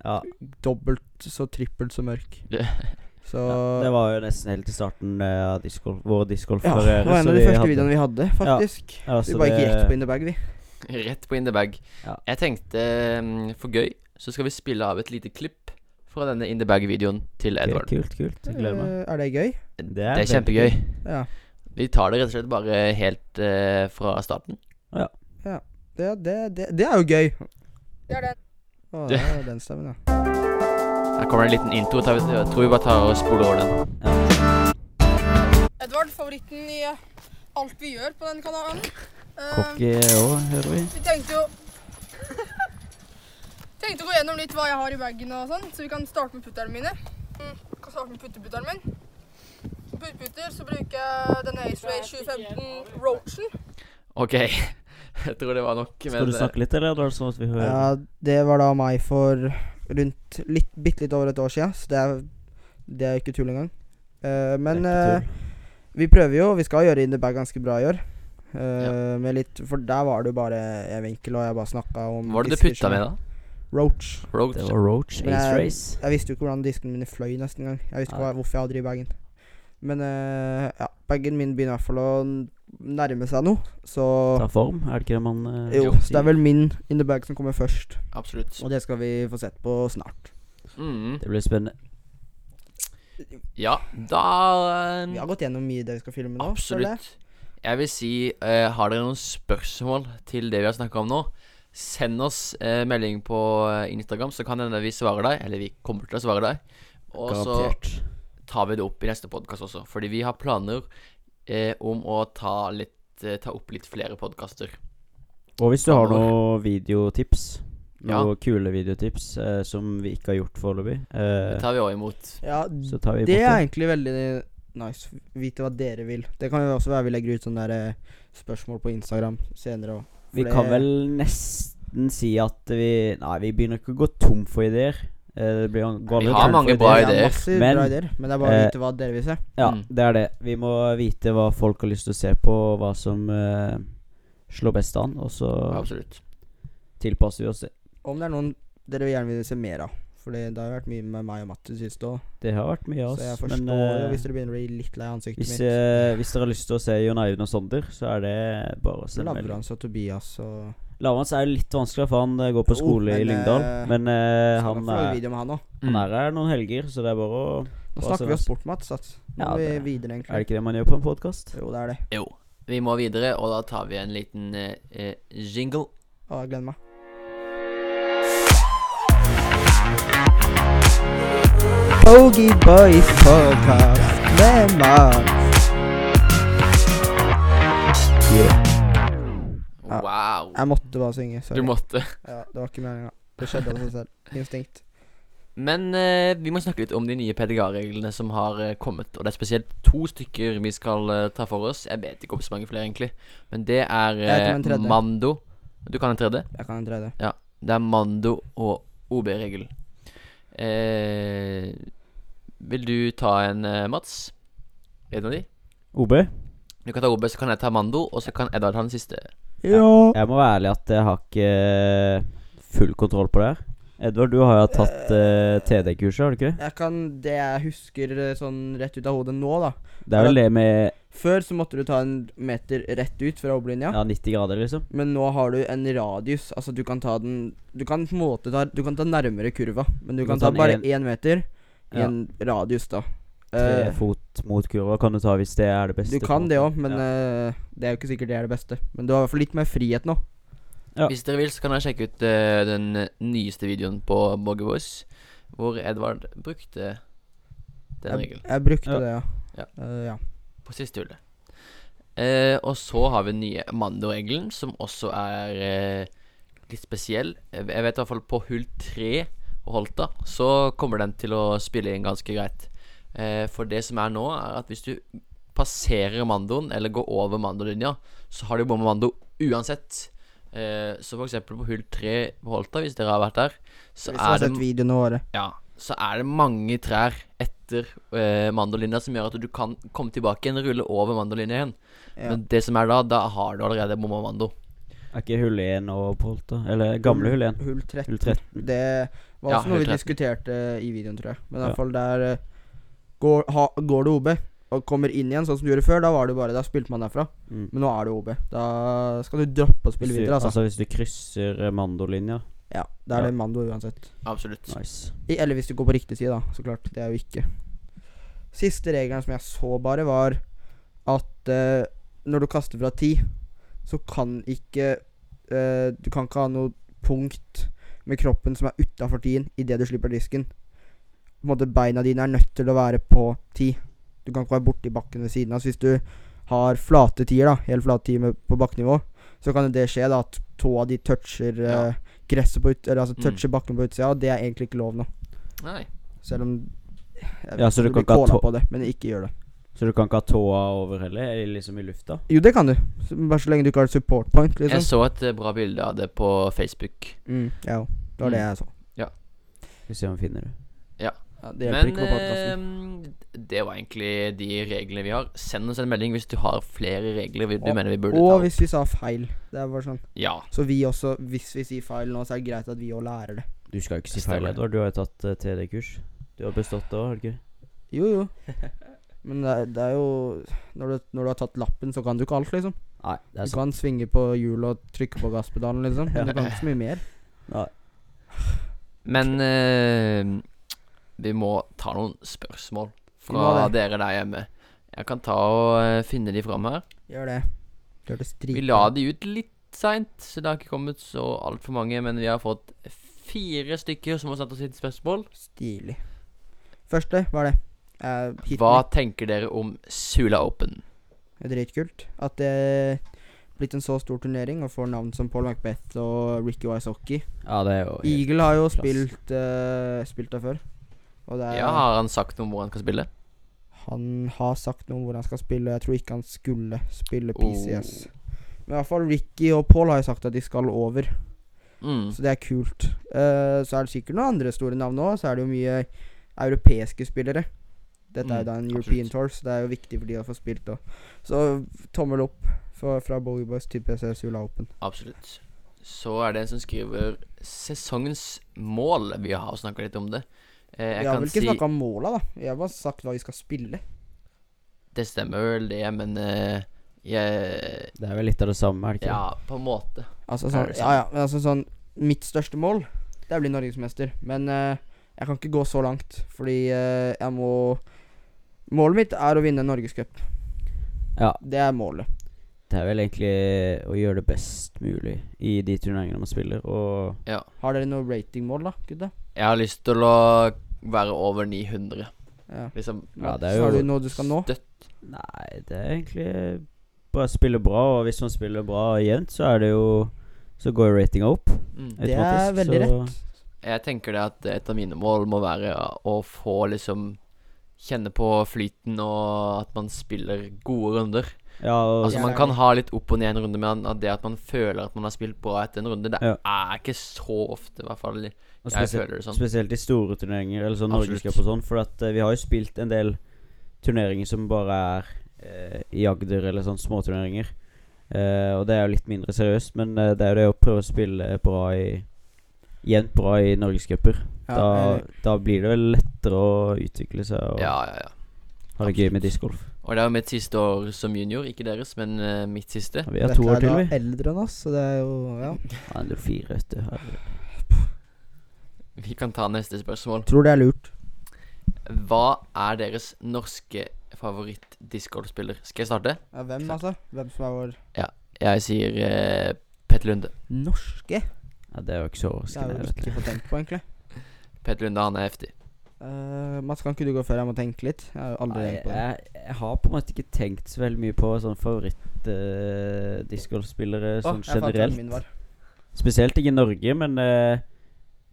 [SPEAKER 4] Ja,
[SPEAKER 1] dobbelt så trippelt så mørk.
[SPEAKER 3] Det-
[SPEAKER 1] Så
[SPEAKER 4] ja. Det var jo nesten helt til starten eh, av discgolf, vår
[SPEAKER 1] Ja, det
[SPEAKER 4] discgolf-karriere.
[SPEAKER 1] var en av de første videoene vi hadde, faktisk.
[SPEAKER 4] altså,
[SPEAKER 1] vi bare gikk
[SPEAKER 4] det-
[SPEAKER 1] rett på in the bag, vi.
[SPEAKER 3] Rett på in the bag.
[SPEAKER 4] Ja.
[SPEAKER 3] Jeg tenkte mm, for gøy så skal vi spille av et lite klipp fra denne in the bag-videoen til
[SPEAKER 4] Ok,
[SPEAKER 3] Edvard.
[SPEAKER 4] Kult, kult. Jeg gleder meg.
[SPEAKER 1] Eh, er det gøy?
[SPEAKER 4] Det er
[SPEAKER 3] Det er
[SPEAKER 4] veldig
[SPEAKER 3] kjempegøy.
[SPEAKER 1] Ja.
[SPEAKER 3] Vi tar det rett og slett bare helt eh, fra starten.
[SPEAKER 1] Det, det, det, det er jo gøy. Det er den. Å, det er den stemmen, ja.
[SPEAKER 3] Her kommer en liten intro. Tar vi, jeg tror vi bare tar og spoler over den.
[SPEAKER 5] Edvard, favoritten i eh, alt vi gjør på den kanalen. Eh,
[SPEAKER 4] Cocky òg, hører vi.
[SPEAKER 5] vi tenkte jo Tenkte å gå gjennom litt hva jeg har i bagen og sånn, så vi kan starte med putterne mine. Mm, kan starte med putteputteren min. På Putteputter så bruker jeg denne Aceway 2015 Roachen.
[SPEAKER 3] OK. Jeg tror det var nok, men
[SPEAKER 4] Skal du
[SPEAKER 3] eh,
[SPEAKER 4] snakke litt, eller? er det sånn at vi hører
[SPEAKER 1] ja. Det var da meg for rundt litt, bitte litt over et år siden, så det er, det er jo ikke tull engang. Eh,
[SPEAKER 4] Det er
[SPEAKER 1] men
[SPEAKER 4] ikke
[SPEAKER 1] eh,
[SPEAKER 4] tull.
[SPEAKER 1] Vi prøver jo, vi skal gjøre In The Bag ganske bra i år. Eh, med litt, for der var det jo bare jeg vinkel, og jeg bare snakka om
[SPEAKER 3] Hva eh, var det du
[SPEAKER 1] disker
[SPEAKER 3] putta
[SPEAKER 1] som-
[SPEAKER 3] med, da?
[SPEAKER 1] Roach.
[SPEAKER 3] Roach?
[SPEAKER 4] Det var Roach
[SPEAKER 1] Men eh,
[SPEAKER 4] Ace
[SPEAKER 1] jeg-
[SPEAKER 4] Race.
[SPEAKER 1] Jeg visste jo ikke hvordan diskene mine fløy nesten engang. Jeg visste ikke
[SPEAKER 4] Nei.
[SPEAKER 1] hva, hvorfor jeg hadde det i bagen. Men eh, ja, bagen min begynner i hvert fall å n- nærme seg noe, så
[SPEAKER 4] Ta form, er det ikke det man eh,
[SPEAKER 1] jo,
[SPEAKER 3] jo,
[SPEAKER 1] så det er vel min In The Bag som kommer først,
[SPEAKER 3] Absolutt.
[SPEAKER 1] og det skal vi få sett på snart.
[SPEAKER 3] Mm.
[SPEAKER 4] Det blir spennende.
[SPEAKER 3] Ja, da eh,
[SPEAKER 1] Vi har gått gjennom mye det vi skal filme nå. føler jeg.
[SPEAKER 3] Absolutt. Jeg vil si, eh, har dere noen spørsmål til det vi har snakka om nå? Send oss eh, melding på eh, Instagram, så kan hende vi svarer deg. Eller vi kommer til å svare deg. Og så
[SPEAKER 4] Garantert.
[SPEAKER 3] tar vi det opp i neste podkast også. Fordi vi har planer eh, om å ta, litt, eh, ta opp litt flere podkaster.
[SPEAKER 4] Og hvis du har
[SPEAKER 3] Fremover.
[SPEAKER 4] noen videotips,
[SPEAKER 3] Ja.
[SPEAKER 4] noen kule videotips eh, som vi ikke har gjort foreløpig,
[SPEAKER 3] Det
[SPEAKER 4] eh,
[SPEAKER 3] tar vi òg imot.
[SPEAKER 1] Ja,
[SPEAKER 4] så tar vi
[SPEAKER 1] Det er
[SPEAKER 4] borti.
[SPEAKER 1] egentlig veldig nice. Vite hva dere vil. Det kan jo også være vi legger ut sånne der eh, spørsmål på Instagram senere òg.
[SPEAKER 4] Vi kan vel nesten si at vi Nei, vi begynner ikke å gå tom for ideer. Eh, det blir, går
[SPEAKER 3] Vi
[SPEAKER 4] aldri
[SPEAKER 3] har
[SPEAKER 4] tom
[SPEAKER 3] mange
[SPEAKER 4] for
[SPEAKER 3] bra
[SPEAKER 4] ideer.
[SPEAKER 1] Men,
[SPEAKER 3] ideer.
[SPEAKER 4] Men,
[SPEAKER 1] bra ideer. men det er bare å
[SPEAKER 4] eh,
[SPEAKER 1] vite hva dere vil se.
[SPEAKER 4] Ja,
[SPEAKER 3] Mm.
[SPEAKER 4] det er det. Vi må vite hva folk har lyst til å se på, og hva som eh, slår best an. Og så
[SPEAKER 3] Absolutt.
[SPEAKER 4] tilpasser vi oss det.
[SPEAKER 1] Om det er noen dere vil gjerne vil se mer av. For det har jo vært mye med meg og Matt i det siste òg.
[SPEAKER 4] Det har vært mye av
[SPEAKER 1] så jeg
[SPEAKER 4] oss,
[SPEAKER 1] forstår
[SPEAKER 4] men
[SPEAKER 1] jo
[SPEAKER 4] eh,
[SPEAKER 1] hvis dere begynner å bli litt lei av ansiktet
[SPEAKER 4] hvis,
[SPEAKER 1] mitt.
[SPEAKER 4] eh, hvis dere har lyst til å se Jon Eivind og Sonder, så er det bare å
[SPEAKER 1] Så
[SPEAKER 4] sende melding.
[SPEAKER 1] Lavrans og Tobias og
[SPEAKER 4] Lavrans er jo litt vanskeligere, for han eh, går på
[SPEAKER 1] Jo,
[SPEAKER 4] skole i
[SPEAKER 1] men,
[SPEAKER 4] Lyngdal.
[SPEAKER 1] eh,
[SPEAKER 4] Men eh,
[SPEAKER 1] Skal
[SPEAKER 4] han,
[SPEAKER 1] nok få lage
[SPEAKER 4] er,
[SPEAKER 1] video med han også.
[SPEAKER 4] han er her noen helger, så det er bare å
[SPEAKER 1] Nå
[SPEAKER 4] Hva
[SPEAKER 1] snakker
[SPEAKER 4] som
[SPEAKER 1] vi oss
[SPEAKER 4] helst.
[SPEAKER 1] bort, Mats. ass. Nå
[SPEAKER 4] Ja,
[SPEAKER 1] må vi
[SPEAKER 4] det-
[SPEAKER 1] videre,
[SPEAKER 4] Er det
[SPEAKER 1] egentlig.
[SPEAKER 4] ikke det man gjør på en podkast?
[SPEAKER 1] Jo, det er det.
[SPEAKER 3] Jo. Vi må videre, og da tar vi en liten eh, eh, jingle.
[SPEAKER 1] Å, jeg gleder meg. Bogey Boys podcast med Mats. Ja.
[SPEAKER 3] Wow.
[SPEAKER 1] Jeg måtte bare synge.
[SPEAKER 3] Du
[SPEAKER 1] Sorry.
[SPEAKER 3] måtte.
[SPEAKER 1] Ja, det var ikke meninga. Det skjedde av seg selv. Instinkt.
[SPEAKER 3] Men eh, vi må snakke litt om de nye PDGA-reglene som har eh, kommet. Og det er spesielt to stykker vi skal eh, ta for oss. Jeg vet ikke om så mange flere, egentlig. Men det er
[SPEAKER 1] Jeg kan en
[SPEAKER 3] eh,
[SPEAKER 1] tredje.
[SPEAKER 3] Mando. Du kan en tredje?
[SPEAKER 1] Jeg kan dreie det.
[SPEAKER 3] Det er Mando og OB-regel. Eh, vil du ta en, eh, Mats? En av de?
[SPEAKER 4] OB?
[SPEAKER 3] Du kan ta OB, så kan jeg ta Mando, og så kan Edvard ta den siste.
[SPEAKER 1] Ja.
[SPEAKER 4] Jeg må være ærlig at jeg har ikke eh, full kontroll på det her. Edvard, du har jo tatt eh, TD-kurset, har du ikke det?
[SPEAKER 1] Jeg kan det jeg husker eh, sånn rett ut av hodet nå, da.
[SPEAKER 4] Det er vel det med
[SPEAKER 1] Før så måtte du ta en meter rett ut fra hovedlinja.
[SPEAKER 4] ja, 90 grader, liksom?
[SPEAKER 1] Men nå har du en radius. Altså, du kan ta den Du kan på en måte ta Du kan ta nærmere kurva, men du kan ta
[SPEAKER 4] den
[SPEAKER 1] bare
[SPEAKER 4] en-
[SPEAKER 1] én meter i
[SPEAKER 4] Ja.
[SPEAKER 1] en radius, da.
[SPEAKER 4] Tre
[SPEAKER 1] Eh,
[SPEAKER 4] fot mot kurva kan du ta hvis det er det beste.
[SPEAKER 1] du kan det òg, men
[SPEAKER 4] ja.
[SPEAKER 1] eh, det er jo ikke sikkert det er det beste. Men du har i hvert fall litt mer frihet nå.
[SPEAKER 4] Ja.
[SPEAKER 3] Hvis dere vil, så kan dere sjekke ut eh, den nyeste videoen på Boggy Boys, hvor Edvard brukte
[SPEAKER 1] Jeg,
[SPEAKER 3] den regelen
[SPEAKER 1] jeg brukte
[SPEAKER 4] Ja.
[SPEAKER 1] det, ja.
[SPEAKER 3] Ja.
[SPEAKER 1] Eh, ja.
[SPEAKER 3] på siste hullet. Eh, og så har vi den nye Mando-regelen, som også er eh, litt spesiell. Jeg jeg vet i hvert fall på hull tre og Holta, så kommer den til å spille inn ganske greit. Eh, for det som er nå, er at hvis du passerer mandoen, eller går over mandolinja, så har du bomma mando uansett. Eh, så for eksempel på hull tre på Holta, hvis dere har vært der, så
[SPEAKER 1] Hvis du har
[SPEAKER 3] er det
[SPEAKER 1] sett videoene våre.
[SPEAKER 3] ja, så er det mange trær etter eh, mandolinja som gjør at du kan komme tilbake igjen, rulle over mandolinja igjen.
[SPEAKER 1] Ja.
[SPEAKER 3] Men det som er da, da har du allerede bomma mando.
[SPEAKER 4] Er ikke hull 1 og Polt, da? Eller gamle hull 1?
[SPEAKER 1] Hull 13.
[SPEAKER 4] Hull 13.
[SPEAKER 1] Det var
[SPEAKER 3] Ja,
[SPEAKER 1] også noe vi
[SPEAKER 3] hull 13.
[SPEAKER 1] diskuterte i videoen, tror jeg. Men i
[SPEAKER 4] Ja.
[SPEAKER 1] hvert fall der eh, går, ha, går det OB og kommer inn igjen, sånn som du gjorde før. Da var det bare, da spilte man derfra.
[SPEAKER 4] Mm.
[SPEAKER 1] Men nå er det OB. Da skal du droppe å
[SPEAKER 4] Hvis
[SPEAKER 1] spille
[SPEAKER 4] du,
[SPEAKER 1] videre, altså.
[SPEAKER 4] altså hvis du krysser eh, mandolinja
[SPEAKER 1] Ja, Da er
[SPEAKER 4] Ja.
[SPEAKER 1] det Mando uansett.
[SPEAKER 3] Absolutt.
[SPEAKER 4] Nice.
[SPEAKER 1] I, eller hvis du går på riktig side, da. Så klart. Det er jo ikke. Siste regelen som jeg så bare, var at eh, når du kaster fra ti, så kan ikke eh, Du kan ikke ha noe punkt med kroppen som er utafor tien idet du slipper disken. På en måte Beina dine er nødt til å være på ti. Du kan ikke være borti bakken ved siden av. Så hvis du har flate tier, da, helt flate tier med- på bakkenivå, så kan jo det skje da at tåa di toucher
[SPEAKER 3] Ja.
[SPEAKER 1] eh, gresset på ut, eller altså
[SPEAKER 3] Mm.
[SPEAKER 1] toucher bakken på utsida, og det er egentlig ikke lov nå.
[SPEAKER 3] Nei.
[SPEAKER 1] Selv om jeg
[SPEAKER 4] Ja,
[SPEAKER 1] vet
[SPEAKER 4] så
[SPEAKER 1] ikke
[SPEAKER 4] du
[SPEAKER 1] om blir
[SPEAKER 4] kan ikke ha
[SPEAKER 1] kåla
[SPEAKER 4] tå-
[SPEAKER 1] på det, men ikke gjør det.
[SPEAKER 4] Så du kan ikke ha tåa over heller? Eller liksom i lufta?
[SPEAKER 1] Jo, det kan du. Så- Bare så lenge du ikke har et support point,
[SPEAKER 3] Jeg
[SPEAKER 1] liksom.
[SPEAKER 3] så et eh, bra bilde av det på Facebook.
[SPEAKER 1] Mm, ja, jo. det var det
[SPEAKER 3] Mm.
[SPEAKER 1] jeg så.
[SPEAKER 4] Skal vi se om vi finner det.
[SPEAKER 1] Ja, det hjelper
[SPEAKER 3] Men
[SPEAKER 1] ikke på podkasten.
[SPEAKER 3] eh, det var egentlig de reglene vi har. Send oss en melding hvis du har flere regler vi, du
[SPEAKER 1] Og-
[SPEAKER 3] mener vi burde ta
[SPEAKER 1] Og
[SPEAKER 3] opp.
[SPEAKER 1] hvis vi sa feil. Det er bare sånn.
[SPEAKER 3] Ja.
[SPEAKER 1] Så vi også, hvis vi sier feil nå, så er det greit at vi òg lærer det.
[SPEAKER 4] Du skal jo ikke si
[SPEAKER 3] Stemmer
[SPEAKER 4] feil,
[SPEAKER 3] det.
[SPEAKER 4] Edvard. Du har jo tatt eh, TD-kurs. Du har bestått det òg, har du ikke?
[SPEAKER 1] Jo, jo. Men det er, det er jo når du, når du har tatt lappen, så kan du ikke alt, liksom.
[SPEAKER 4] Nei, det
[SPEAKER 1] Du
[SPEAKER 4] er sant.
[SPEAKER 1] kan svinge på hjulet og trykke på gasspedalen, liksom. Men du kan ikke så mye mer.
[SPEAKER 4] Nei.
[SPEAKER 3] Men eh, vi må ta noen spørsmål
[SPEAKER 1] Vi må
[SPEAKER 3] fra dere der hjemme. Jeg kan ta og eh, finne de fram her.
[SPEAKER 1] Gjør det. Du hørte strid.
[SPEAKER 3] Vi la de ut litt seint, så det har ikke kommet så altfor mange. Men vi har fått fire stykker som har satt oss inn spørsmål.
[SPEAKER 1] Stilig. Første, hva er det? Eh, hit
[SPEAKER 3] Hva
[SPEAKER 1] me.
[SPEAKER 3] tenker dere om Sula Open?
[SPEAKER 1] Det er Dritkult. At det er blitt en så stor turnering og får navn som Paul Macbeth og Ricky Wysocki.
[SPEAKER 4] Ja, det er jo helt-
[SPEAKER 1] Eagle har jo
[SPEAKER 4] klasse.
[SPEAKER 1] spilt eh, Spilt der før. Og det er
[SPEAKER 3] Ja, Har han sagt noe om hvor han skal spille?
[SPEAKER 1] Han har sagt noe om hvor han skal spille. Jeg tror ikke han skulle spille PCS.
[SPEAKER 4] Oh.
[SPEAKER 1] Men i hvert fall Ricky og Paul har jo sagt at de skal over,
[SPEAKER 3] Mm.
[SPEAKER 1] så det er kult. Eh, så er det sikkert noen andre store navn òg. Så er det jo mye europeiske spillere. Dette er
[SPEAKER 3] Mm,
[SPEAKER 1] jo da en
[SPEAKER 3] absolutt.
[SPEAKER 1] European Tour, så det er jo viktig for de å få spilt òg. Så tommel opp for, fra Bowie Boys til PCS Ula Open.
[SPEAKER 3] Absolutt. Så er det en som skriver sesongens mål. Vi har snakka litt om det. Eh,
[SPEAKER 1] Vi
[SPEAKER 3] jeg
[SPEAKER 1] har
[SPEAKER 3] kan
[SPEAKER 1] vel ikke
[SPEAKER 3] si
[SPEAKER 1] snakka om måla, da. Vi har bare sagt hva vi skal spille.
[SPEAKER 3] Det stemmer vel, det, men eh, jeg
[SPEAKER 4] Det er vel litt av det samme, er det ikke?
[SPEAKER 3] Ja, på en måte.
[SPEAKER 1] Altså
[SPEAKER 3] Er
[SPEAKER 1] sånn,
[SPEAKER 3] det sant?
[SPEAKER 1] ja, ja, men altså sånn Mitt største mål Det er å bli norgesmester Men eh, jeg kan ikke gå så langt Fordi eh, jeg må Målet mitt er å vinne Norgescup
[SPEAKER 4] Ja.
[SPEAKER 1] Det er målet
[SPEAKER 4] Det er vel egentlig å gjøre det best mulig i de turneringene man spiller, og
[SPEAKER 1] Har dere noe ratingmål da, gutta?
[SPEAKER 3] Jeg har lyst til å være over 900.
[SPEAKER 1] Ja.
[SPEAKER 3] Liksom
[SPEAKER 4] Ja, det er
[SPEAKER 1] Så har
[SPEAKER 4] jo-
[SPEAKER 1] du noe du skal nå?
[SPEAKER 3] støtt
[SPEAKER 4] Nei, det er egentlig bare å spille bra, og hvis man spiller bra og jevnt, så er det jo Så går jo ratinga opp.
[SPEAKER 3] mm.
[SPEAKER 1] Det er
[SPEAKER 4] automatisk,
[SPEAKER 1] veldig
[SPEAKER 4] så-
[SPEAKER 1] rett
[SPEAKER 3] Jeg tenker det at et av mine mål må være å få liksom Kjenne på flyten og at man spiller gode runder.
[SPEAKER 4] Ja, og,
[SPEAKER 3] Altså Man kan ha litt opp og ned en runde, men at det at man føler at man har spilt bra etter en runde, det
[SPEAKER 4] Ja.
[SPEAKER 3] er ikke så ofte, i hvert fall.
[SPEAKER 4] og
[SPEAKER 3] Jeg
[SPEAKER 4] spesielt-
[SPEAKER 3] føler det sånn.
[SPEAKER 4] Spesielt i store turneringer, eller sånn
[SPEAKER 3] Absolutt.
[SPEAKER 4] Norgescup og sånn. For at eh, vi har jo spilt en del turneringer som bare er eh, i Agder, eller sånn småturneringer. Eh, og det er jo litt mindre seriøst, men eh, det er jo det å prøve å spille bra i Jevnt bra i norgescuper.
[SPEAKER 1] Ja,
[SPEAKER 4] da,
[SPEAKER 1] jeg-
[SPEAKER 4] da blir det vel lettere å utvikle seg og
[SPEAKER 3] Ja, ja, ja.
[SPEAKER 4] ha det gøy med discgolf.
[SPEAKER 3] Og det er jo mitt siste år som junior. Ikke deres, men eh, mitt siste.
[SPEAKER 4] Vi har
[SPEAKER 1] Vetle
[SPEAKER 4] to år
[SPEAKER 1] er
[SPEAKER 4] til,
[SPEAKER 1] da
[SPEAKER 4] vi.
[SPEAKER 1] eldre enn oss, så det er jo ja.
[SPEAKER 4] Ja, det er fire, vet du. Herregud.
[SPEAKER 3] Vi kan ta neste spørsmål.
[SPEAKER 1] Tror det er lurt.
[SPEAKER 3] Hva er deres norske favoritt-discgolfspiller? Skal jeg starte?
[SPEAKER 1] Ja, hvem, altså? Hvem som er vår
[SPEAKER 3] Jeg sier eh, Petter Lunde.
[SPEAKER 1] norske?
[SPEAKER 4] Ja, det er jo ikke så
[SPEAKER 1] Det har
[SPEAKER 4] overraskende.
[SPEAKER 1] jeg jo
[SPEAKER 4] vet du.
[SPEAKER 1] ikke fått tenkt på, egentlig.
[SPEAKER 3] Petter Lunde, han er heftig.
[SPEAKER 1] Eh, Mats, kan ikke du gå før jeg må tenke litt? Jeg har jo aldri
[SPEAKER 4] Nei,
[SPEAKER 1] tenkt på det.
[SPEAKER 4] jeg, jeg har på en måte ikke tenkt så veldig mye på sånn favoritt-discgolfspillere
[SPEAKER 1] Å,
[SPEAKER 4] sånn
[SPEAKER 1] jeg fant hvem
[SPEAKER 4] generelt.
[SPEAKER 1] min var.
[SPEAKER 4] Spesielt ikke i Norge, men eh,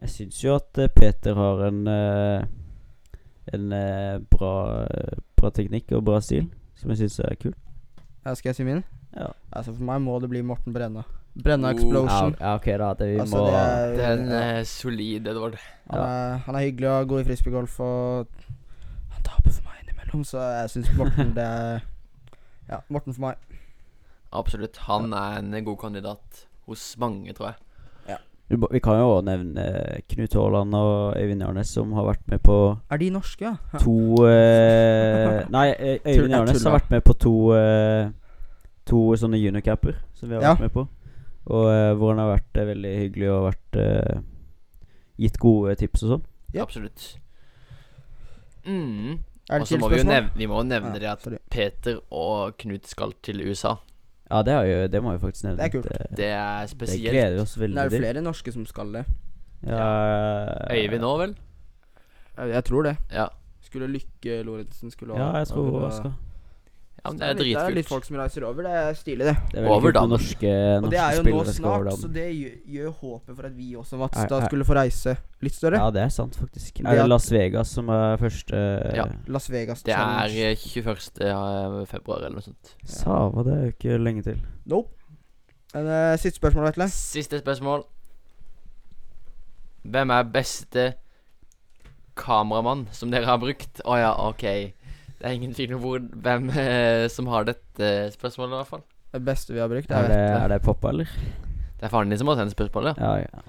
[SPEAKER 4] jeg syns jo at eh, Peter har en eh, En eh, bra, bra teknikk og bra stil, som jeg syns er kul.
[SPEAKER 1] Ja, skal jeg si min?
[SPEAKER 4] Ja.
[SPEAKER 1] Altså For meg må det bli Morten Brenna. Brenna Explosion.
[SPEAKER 4] Ja, ok, da. Det vi
[SPEAKER 1] altså,
[SPEAKER 4] må
[SPEAKER 1] det er,
[SPEAKER 3] Det er en
[SPEAKER 1] ja.
[SPEAKER 3] eh, solid Edvard.
[SPEAKER 1] han, er, han er hyggelig og god i frisbeegolf, og han taper for meg innimellom, så jeg syns Morten det er Ja, Morten for meg.
[SPEAKER 3] Absolutt. Han er en god kandidat hos mange, tror jeg.
[SPEAKER 4] vi, må- vi kan jo også nevne eh, Knut Haaland og Øyvind Jarnes, som har vært med på
[SPEAKER 1] Er de norske, ja? ja?
[SPEAKER 4] to eh, Nei, eh,
[SPEAKER 1] Tull-
[SPEAKER 4] Øyvind
[SPEAKER 1] jeg
[SPEAKER 4] Jarnes har
[SPEAKER 1] tuller.
[SPEAKER 4] vært med på to eh, To sånne juniorcamper som vi har
[SPEAKER 1] Ja.
[SPEAKER 4] vært med på. Og eh, hvor han har vært eh, veldig hyggelig og vært eh, gitt gode tips og sånn.
[SPEAKER 1] Ja.
[SPEAKER 3] Absolutt. Mm.
[SPEAKER 1] Er
[SPEAKER 3] Og
[SPEAKER 1] det
[SPEAKER 3] så
[SPEAKER 1] til
[SPEAKER 3] må vi jo
[SPEAKER 1] spørsmål?
[SPEAKER 3] nevne, vi må jo nevne
[SPEAKER 1] Ja,
[SPEAKER 3] det at
[SPEAKER 1] sorry.
[SPEAKER 3] Peter og Knut skal til USA.
[SPEAKER 4] Ja, det, er jo, det må jeg faktisk nevne.
[SPEAKER 1] Det er kult.
[SPEAKER 4] at, eh,
[SPEAKER 3] Det er
[SPEAKER 4] det
[SPEAKER 3] spesielt.
[SPEAKER 4] gleder vi oss
[SPEAKER 1] Det
[SPEAKER 4] veldig
[SPEAKER 1] er jo flere norske som skal det.
[SPEAKER 4] Ja, eh,
[SPEAKER 3] Øyvind òg, vel?
[SPEAKER 1] Jeg jeg tror det.
[SPEAKER 3] Ja.
[SPEAKER 1] Skulle Lykke Lorentzen skulle
[SPEAKER 4] Ja, jeg tror
[SPEAKER 1] over, og-
[SPEAKER 4] hun skal.
[SPEAKER 3] ja men det er
[SPEAKER 1] litt- Det er litt
[SPEAKER 3] dritkult.
[SPEAKER 1] folk som reiser over. Det er stilig, det.
[SPEAKER 4] Det er veldig
[SPEAKER 3] Over
[SPEAKER 4] kult
[SPEAKER 3] dammen.
[SPEAKER 4] med norske,
[SPEAKER 1] Og
[SPEAKER 4] norske
[SPEAKER 1] det er jo nå
[SPEAKER 4] spillere skal over
[SPEAKER 1] snart, så
[SPEAKER 4] dammen.
[SPEAKER 1] det gjør, gjør håpet for at vi også,
[SPEAKER 4] Er-
[SPEAKER 1] Mats,
[SPEAKER 4] er-
[SPEAKER 1] da skulle få reise litt større.
[SPEAKER 4] Ja, det er sant, faktisk.
[SPEAKER 1] Det
[SPEAKER 4] Er det
[SPEAKER 1] at-
[SPEAKER 4] Las Vegas som er første
[SPEAKER 3] Ja.
[SPEAKER 1] Las Vegas
[SPEAKER 3] Det er
[SPEAKER 1] Challenge.
[SPEAKER 3] eh, 21. ja, februar eller noe sånt.
[SPEAKER 4] Sava, det er jo ikke lenge til.
[SPEAKER 1] Nope. Men, eh, siste spørsmål, Vetle.
[SPEAKER 3] Siste spørsmål. Hvem er beste kameramann som dere har brukt? Å ja, OK. Det er ingen tvil om hvor, hvem eh, som har dette spørsmålet, i hvert fall.
[SPEAKER 1] Det beste vi har brukt.
[SPEAKER 4] Er det,
[SPEAKER 1] Er
[SPEAKER 4] er det poppa, eller?
[SPEAKER 3] Det er faren din som har sendt spørsmålet.
[SPEAKER 4] Ja, ja.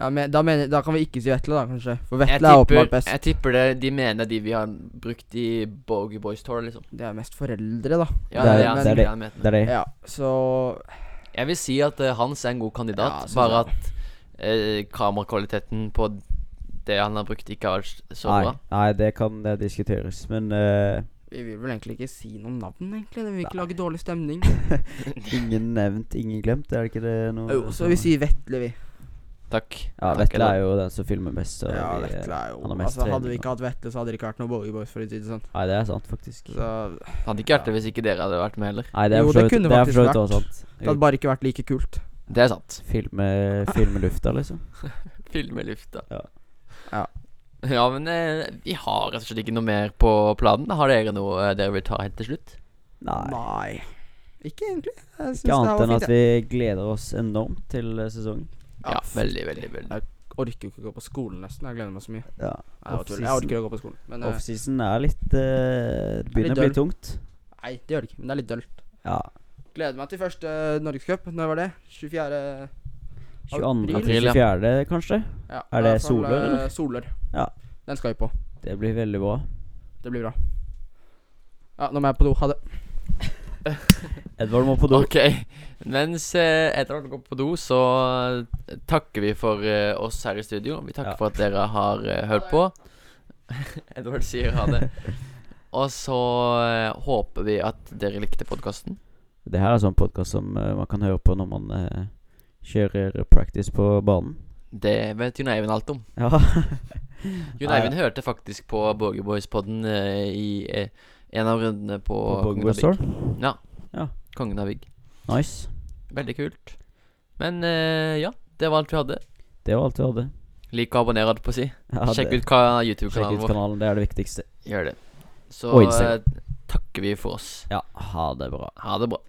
[SPEAKER 1] ja, men, da, mener, da kan vi ikke si Vetle, da, kanskje. For
[SPEAKER 3] Jeg
[SPEAKER 1] Vetle er åpenbart
[SPEAKER 3] tipper,
[SPEAKER 1] best.
[SPEAKER 3] jeg tipper det de mener de vi har brukt i Bogey Boys Tour, liksom.
[SPEAKER 1] Det er mest foreldre, da.
[SPEAKER 3] Ja,
[SPEAKER 4] Det
[SPEAKER 3] det er, det,
[SPEAKER 4] er- det er
[SPEAKER 3] sikkert
[SPEAKER 4] det.
[SPEAKER 3] han mente.
[SPEAKER 4] Det er det.
[SPEAKER 1] Ja, så
[SPEAKER 3] Jeg vil si at eh, Hans er en god kandidat,
[SPEAKER 1] Ja, synes
[SPEAKER 3] bare
[SPEAKER 1] jeg.
[SPEAKER 3] at eh, kamerakvaliteten på det han har brukt, ikke har vært s- så
[SPEAKER 4] nei,
[SPEAKER 3] bra.
[SPEAKER 4] nei, det kan eh, diskuteres, men eh,
[SPEAKER 1] Vi vil vel egentlig ikke si noen navn, egentlig. Vi vil ikke
[SPEAKER 4] Nei.
[SPEAKER 1] lage dårlig stemning.
[SPEAKER 4] ingen nevnt, ingen glemt. Er det ikke det noe sånn?
[SPEAKER 1] Jo, så vi sier Vetle, vi.
[SPEAKER 3] Takk.
[SPEAKER 4] Ja,
[SPEAKER 3] Takk,
[SPEAKER 4] Vetle
[SPEAKER 3] Edvard.
[SPEAKER 4] er jo den som filmer mest. Så
[SPEAKER 1] Ja,
[SPEAKER 4] vi, eh,
[SPEAKER 1] Vetle er jo
[SPEAKER 4] han har mest
[SPEAKER 1] Altså, Hadde vi
[SPEAKER 4] trening,
[SPEAKER 1] ikke hatt Vetle, så hadde det ikke vært noe Bowie Boys, for å si det sånn.
[SPEAKER 4] Nei, det er sant, faktisk.
[SPEAKER 1] Så
[SPEAKER 3] Det hadde ikke vært det hvis ikke dere hadde vært med heller.
[SPEAKER 4] Nei, det er
[SPEAKER 1] Jo,
[SPEAKER 4] for så
[SPEAKER 1] det
[SPEAKER 4] vidt-
[SPEAKER 1] kunne
[SPEAKER 4] det er for
[SPEAKER 1] faktisk
[SPEAKER 4] så vidt
[SPEAKER 1] vært.
[SPEAKER 4] også sant.
[SPEAKER 1] det hadde bare ikke vært like kult.
[SPEAKER 3] Det er sant.
[SPEAKER 4] Filme, filme lufta, liksom.
[SPEAKER 3] Filme lufta.
[SPEAKER 4] Ja.
[SPEAKER 1] Ja.
[SPEAKER 3] Ja, men eh, vi har rett og slett ikke noe mer på planen. Har dere noe eh, dere vil ta helt til slutt?
[SPEAKER 4] Nei.
[SPEAKER 1] Ikke egentlig. Jeg syns
[SPEAKER 4] Ikke
[SPEAKER 1] det her
[SPEAKER 4] annet
[SPEAKER 1] var
[SPEAKER 4] enn
[SPEAKER 1] fint.
[SPEAKER 4] at vi gleder oss enormt til eh, sesongen.
[SPEAKER 1] Ja,
[SPEAKER 3] Ja, veldig, veldig, veldig.
[SPEAKER 1] Jeg orker jo ikke å gå på skolen nesten. Jeg gleder meg så mye.
[SPEAKER 4] Ja.
[SPEAKER 1] Nei, det var tull. Jeg
[SPEAKER 4] Off-season.
[SPEAKER 1] orker ikke å gå på skolen. Men eh,
[SPEAKER 4] Offseason er litt eh, Det
[SPEAKER 1] litt
[SPEAKER 4] begynner å bli
[SPEAKER 1] døll.
[SPEAKER 4] tungt.
[SPEAKER 1] nei, det gjør det ikke. Men det er litt dølt.
[SPEAKER 4] Ja.
[SPEAKER 1] Gleder meg til første eh, Norgescup. Når var det? 24.
[SPEAKER 4] 22.
[SPEAKER 1] April, liksom.
[SPEAKER 4] til
[SPEAKER 3] ja.
[SPEAKER 4] 24., kanskje?
[SPEAKER 1] Ja, da
[SPEAKER 4] Er det
[SPEAKER 1] får,
[SPEAKER 4] Solør,
[SPEAKER 1] eh,
[SPEAKER 4] eller?
[SPEAKER 1] Solør.
[SPEAKER 4] Ja.
[SPEAKER 1] Den skal vi på.
[SPEAKER 4] Det blir veldig bra.
[SPEAKER 1] Det blir bra. Ja, nå må jeg på do. Ha det.
[SPEAKER 4] Edvard må på do.
[SPEAKER 3] Ok. Mens eh, Edvard går på do, så eh, takker vi for eh, oss her i studio. Vi takker
[SPEAKER 4] Ja.
[SPEAKER 3] for at dere har eh, hørt på. Edvard sier ha det. Og så eh, håper vi at dere likte podkasten.
[SPEAKER 4] Det her er sånn podkast som eh, man kan høre på når man eh, kjører practice på banen.
[SPEAKER 3] Det vet Jon Eivind alt om.
[SPEAKER 4] Ja.
[SPEAKER 3] Jon
[SPEAKER 4] Nei.
[SPEAKER 3] Eivind hørte faktisk på Borgerboys-podden eh, i eh, en av rundene på,
[SPEAKER 4] På
[SPEAKER 3] Kongen
[SPEAKER 4] Bogwood
[SPEAKER 3] av Vigg.
[SPEAKER 4] Store.
[SPEAKER 3] Kongen av Vigg.
[SPEAKER 4] Nice.
[SPEAKER 3] Veldig kult. Men eh, ja, det var alt vi hadde.
[SPEAKER 4] Det var alt vi hadde.
[SPEAKER 3] Lik og abonner, hadde jeg på å si.
[SPEAKER 4] Ja, det-
[SPEAKER 3] Sjekk ut ka-
[SPEAKER 4] sjekk
[SPEAKER 3] YouTube-kanalen
[SPEAKER 4] ut
[SPEAKER 3] vår.
[SPEAKER 4] kanalen, det er det viktigste.
[SPEAKER 3] Gjør det. Så
[SPEAKER 4] Og Instagram.
[SPEAKER 3] eh, takker vi for oss.
[SPEAKER 4] Ja, ha det bra.
[SPEAKER 3] Ha det bra.